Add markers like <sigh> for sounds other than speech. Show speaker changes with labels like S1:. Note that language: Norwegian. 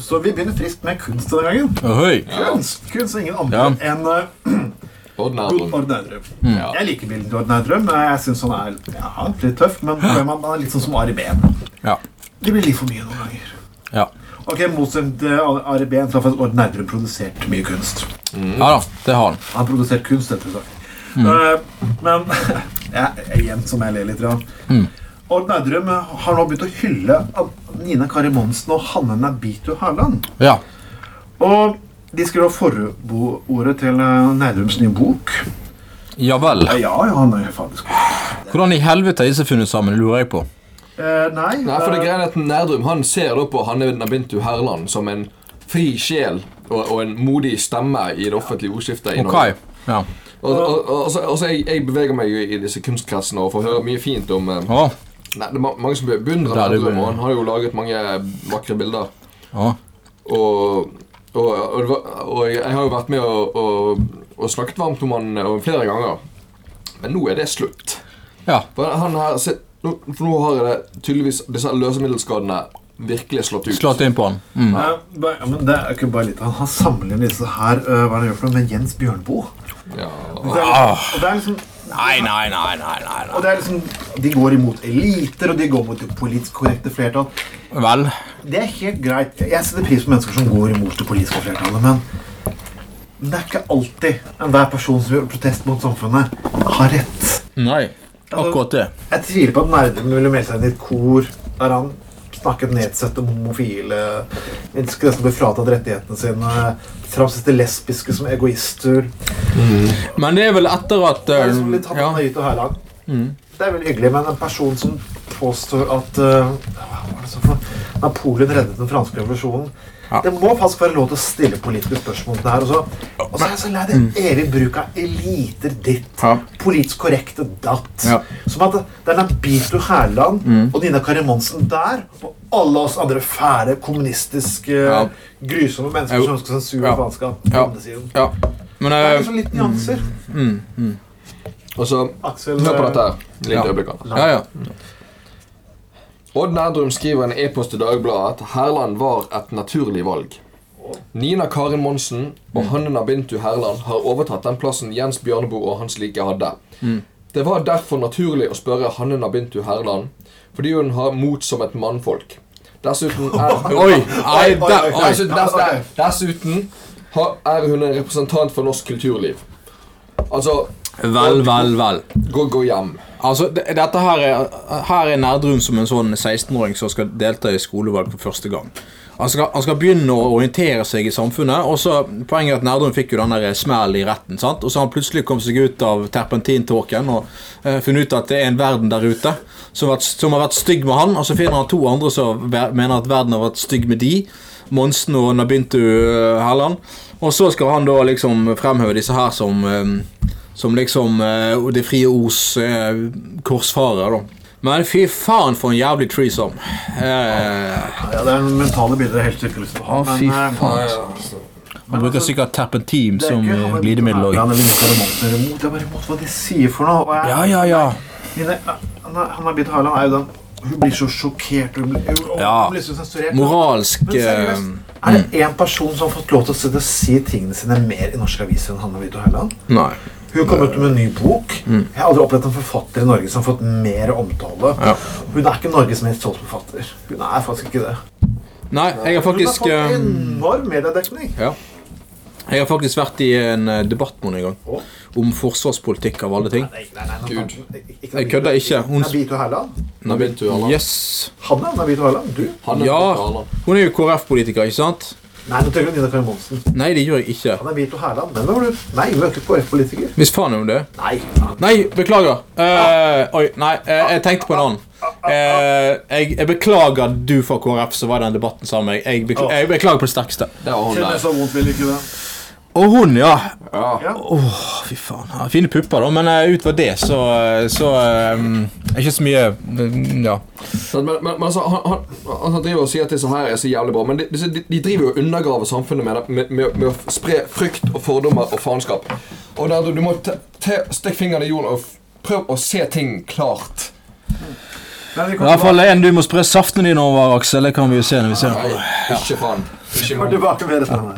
S1: Så vi begynner friskt med kunst denne gangen.
S2: Ohoi.
S1: Kunst, kunst er ingen andre enn eh,
S3: Ordnadel.
S1: Gunnar Naudrum.
S3: Ja.
S1: Jeg liker bildet til Gunnar Naudrum. men Jeg syns han er ja, han er litt tøff, men han er litt sånn som Ari Behn.
S2: Ja.
S1: Det blir litt for mye noen ganger.
S2: Ja.
S1: Ok, Motstemt til Ari Behn så har faktisk Gunnar Naudrum produsert mye kunst.
S2: ja da, det har han.
S1: Han produserte kunst, rett og slett. Eh, men <laughs> jeg, igjen som jeg ler litt. Ja. Odd Naudrum har nå begynt å hylle at Nina Kari Monsen og Hanne Nabitu Harland.
S2: Ja.
S1: Og de skrev forordet til eh, Naudrums nye bok.
S2: Ja vel.
S1: Eh, Ja, ja, ja, han er jo faktisk
S2: Hvordan i helvete har disse funnet sammen, lurer jeg på.
S1: Eh, Nei,
S3: Nei, for det
S1: eh,
S3: greia er at Nerdrum han ser da på Hanne Nabintu Herland som en fri sjel og, og en modig stemme i det offentlige ordskiftet. i
S2: Ok.
S3: Norge.
S2: Ja.
S3: Og, og, og, altså, altså, jeg, jeg beveger meg jo i disse kunstkretsene og får høre mye fint om eh,
S2: Å.
S3: Nei, det er ma- mange som beundrer
S2: Ja, det
S3: Nerdrum,
S2: blir-
S3: og han har jo laget mange vakre bilder.
S2: Å.
S3: Og, og, og, det var- og jeg, jeg har jo vært med og, og, og snakket varmt om han eh, flere ganger. Men nå er det slutt.
S2: Ja.
S3: For han her, se, nå, for nå har det tydeligvis disse løsemiddelskadene virkelig slått ut.
S2: Slått inn på han. Mm.
S1: eh, bare- ja, men det er ikke bare litt Han har sammenlignet disse her eh, hva er det han gjør for noe, med Jens Bjørnboe.
S3: Ja.
S1: Det er, og det er liksom
S2: Nei, nei, nei, nei, nei.
S1: Og det er liksom, De går imot eliter, og de går mot det politisk korrekte flertall.
S2: nei. Vel.
S1: Det er helt greit. Jeg setter pris på mennesker som går imot det politiske flertallet, men det er ikke alltid enhver person som gjør protest mot samfunnet, har rett.
S2: Nei. Akkurat det.
S1: Jeg tviler på at Nerdrum ville melde seg inn i et kor der han snakket nedsettende om homofile, mennesker som ble fratatt rettighetene sine, framstilte lesbiske som egoister
S2: Men det er vel etter at
S1: Det
S2: eh,
S1: er liksom litt hatt
S2: ja. Mm.
S1: av høyt og herlag. Det er veldig hyggelig, men en person som påstår at eh, hva var det så for? Napoleon reddet den franske revolusjonen
S2: Ja.
S1: Det må faktisk være lov til å stille politiske spørsmål om det her. Og så, og så er jeg så lei den evige bruk av eliter ditt,
S2: Mm. Ja.
S1: politisk korrekte datt.
S2: Ja. Mm.
S1: Som at det er Nabito Hærland og Nina Kari Monsen der, og alle oss andre fæle, kommunistiske,
S2: Ja.
S1: grusomme mennesker
S2: Jo.
S1: som ønsker sensur og
S2: Ja.
S1: faenskap. på
S2: Ja.
S1: andre siden.
S2: ja. Men
S1: Det er
S2: eh,
S1: liksom litt nyanser.
S3: Og så,
S1: Aksel
S3: Hør
S1: eh,
S3: på dette her. et Lite
S2: Ja.
S3: øyeblikk. Anna.
S2: Ja, ja.
S3: Odd Nerdrum skriver en e-post til Dagbladet at Herland var et naturlig valg. Nina Karin Monsen
S2: Mm.
S3: og Hanne Nabintu Herland har overtatt den plassen Jens Bjørneboe og hans like hadde.
S2: Mm.
S3: Det var derfor naturlig å spørre Hanne Nabintu Herland, fordi hun har mot som et mannfolk. Dessuten er hun
S2: Oi!
S1: oi,
S2: Nei, der,
S1: oi.
S2: oi.
S3: Dessuten, Altså, dess- dessuten har- er hun en representant for norsk kulturliv. Altså
S2: Vel, vel, vel.
S3: Gå, gå hjem.
S2: Altså, det, dette her er, her er Nerdrum som en sånn 16-åring som skal delta i skolevalg for første gang. Han skal, han skal begynne å orientere seg i samfunnet. og så Poenget er at Nerdrum fikk jo den der smell i retten. sant? Og så har han plutselig kommet seg ut av terpentintåken og eh, funnet ut at det er en verden der ute som, har vært- som har vært stygg med han. Og så finner han to andre som ver- mener at verden har vært stygg med de. Monsen og Nabintu eh, Herland. Og så skal han da liksom fremheve disse her som eh, som liksom eh, Det frie ords eh, korsfarer, da. Men fy faen for en jævlig threesome. Eh,
S1: Ja, det er noen mentale bilder jeg helst ikke har lyst til å ha.
S2: Å, fy
S1: eh,
S2: faen. han bruker sikkert terpentin som eh, glidemiddel
S1: Han
S2: òg.
S1: er litt sånn monster imot. Jeg er bare imot hva de sier for noe. Og jeg,
S2: Ja, ja, ja.
S1: Mine, han er- han har blitt Harland er jo den Hun blir så sjokkert. Hun blir, hun,
S2: Ja.
S1: hun blir så sensurert.
S2: Moralsk
S1: Men
S2: eh,
S1: seriøst, er det én person som har fått lov til å sitte og si tingene sine mer i norske aviser enn Hanne Vito Hauland?
S2: Nei.
S1: Hun kom ut med en ny bok.
S2: Mm.
S1: Jeg har aldri opplevd en forfatter i Norge som har fått mer omtale.
S2: Ja.
S1: Hun er ikke Norges mest solgte forfatter. Hun er faktisk ikke det.
S2: Nei, jeg har faktisk
S1: hun har
S2: eh,
S1: fått enorm mediedekning.
S2: Ja. Jeg har faktisk vært i en eh, debatt med henne
S1: Å.
S2: en gang. Om forsvarspolitikk av alle ting.
S1: Nei, nei, nei, nå-
S3: Gud.
S1: ikke-
S2: Jeg kødder ikke. Hun-
S1: Nabito Herland?
S3: Nabintu Herland.
S2: Yes.
S1: Han er Nabito Herland? Du?
S3: Hanne
S2: Ja.
S3: Nabintu Herland.
S2: Hun er jo KrF-politiker, ikke sant?
S1: Nei, nå tenker du Nina Karin Monsen.
S2: Nei, det gjør jeg ikke.
S1: Han er Vito Herland. Men hvem var du? Nei, hun er ikke KrF-politiker.
S2: Hvis faen er hun det.
S1: Nei.
S2: Nei, beklager. Eh, oi, nei, eh, jeg tenkte på en annen. Eh, jeg, jeg beklager du fra KrF, så var den debatten sammen med meg. Jeg, bekl jeg beklager på det sterkeste.
S3: Det var hun der.
S1: så vondt vil ikke det.
S2: Og hun, ja.
S3: Ja.
S2: Åh, fy faen. Ja, Fine pupper, da, men eh, utover det, så, eh, så eh, Ikke så mye mm, Ja.
S3: Men, men, men altså, han, han, altså, han driver og sier at disse her er så jævlig bra, men de, disse- de, de driver jo og undergraver samfunnet med, det- med, med, med å f- spre frykt og fordommer og faenskap. Og der, du, du må te, te, stikke fingeren i jorden og f- prøv å se ting klart.
S1: Nei, vi
S2: I
S1: kan
S2: hvert fall en du må spre saftene dine over, Aksel. Det kan vi jo se når vi ser
S3: Nei,
S2: det.
S3: ikke faen. Ikke
S1: Kommer tilbake med dette. her.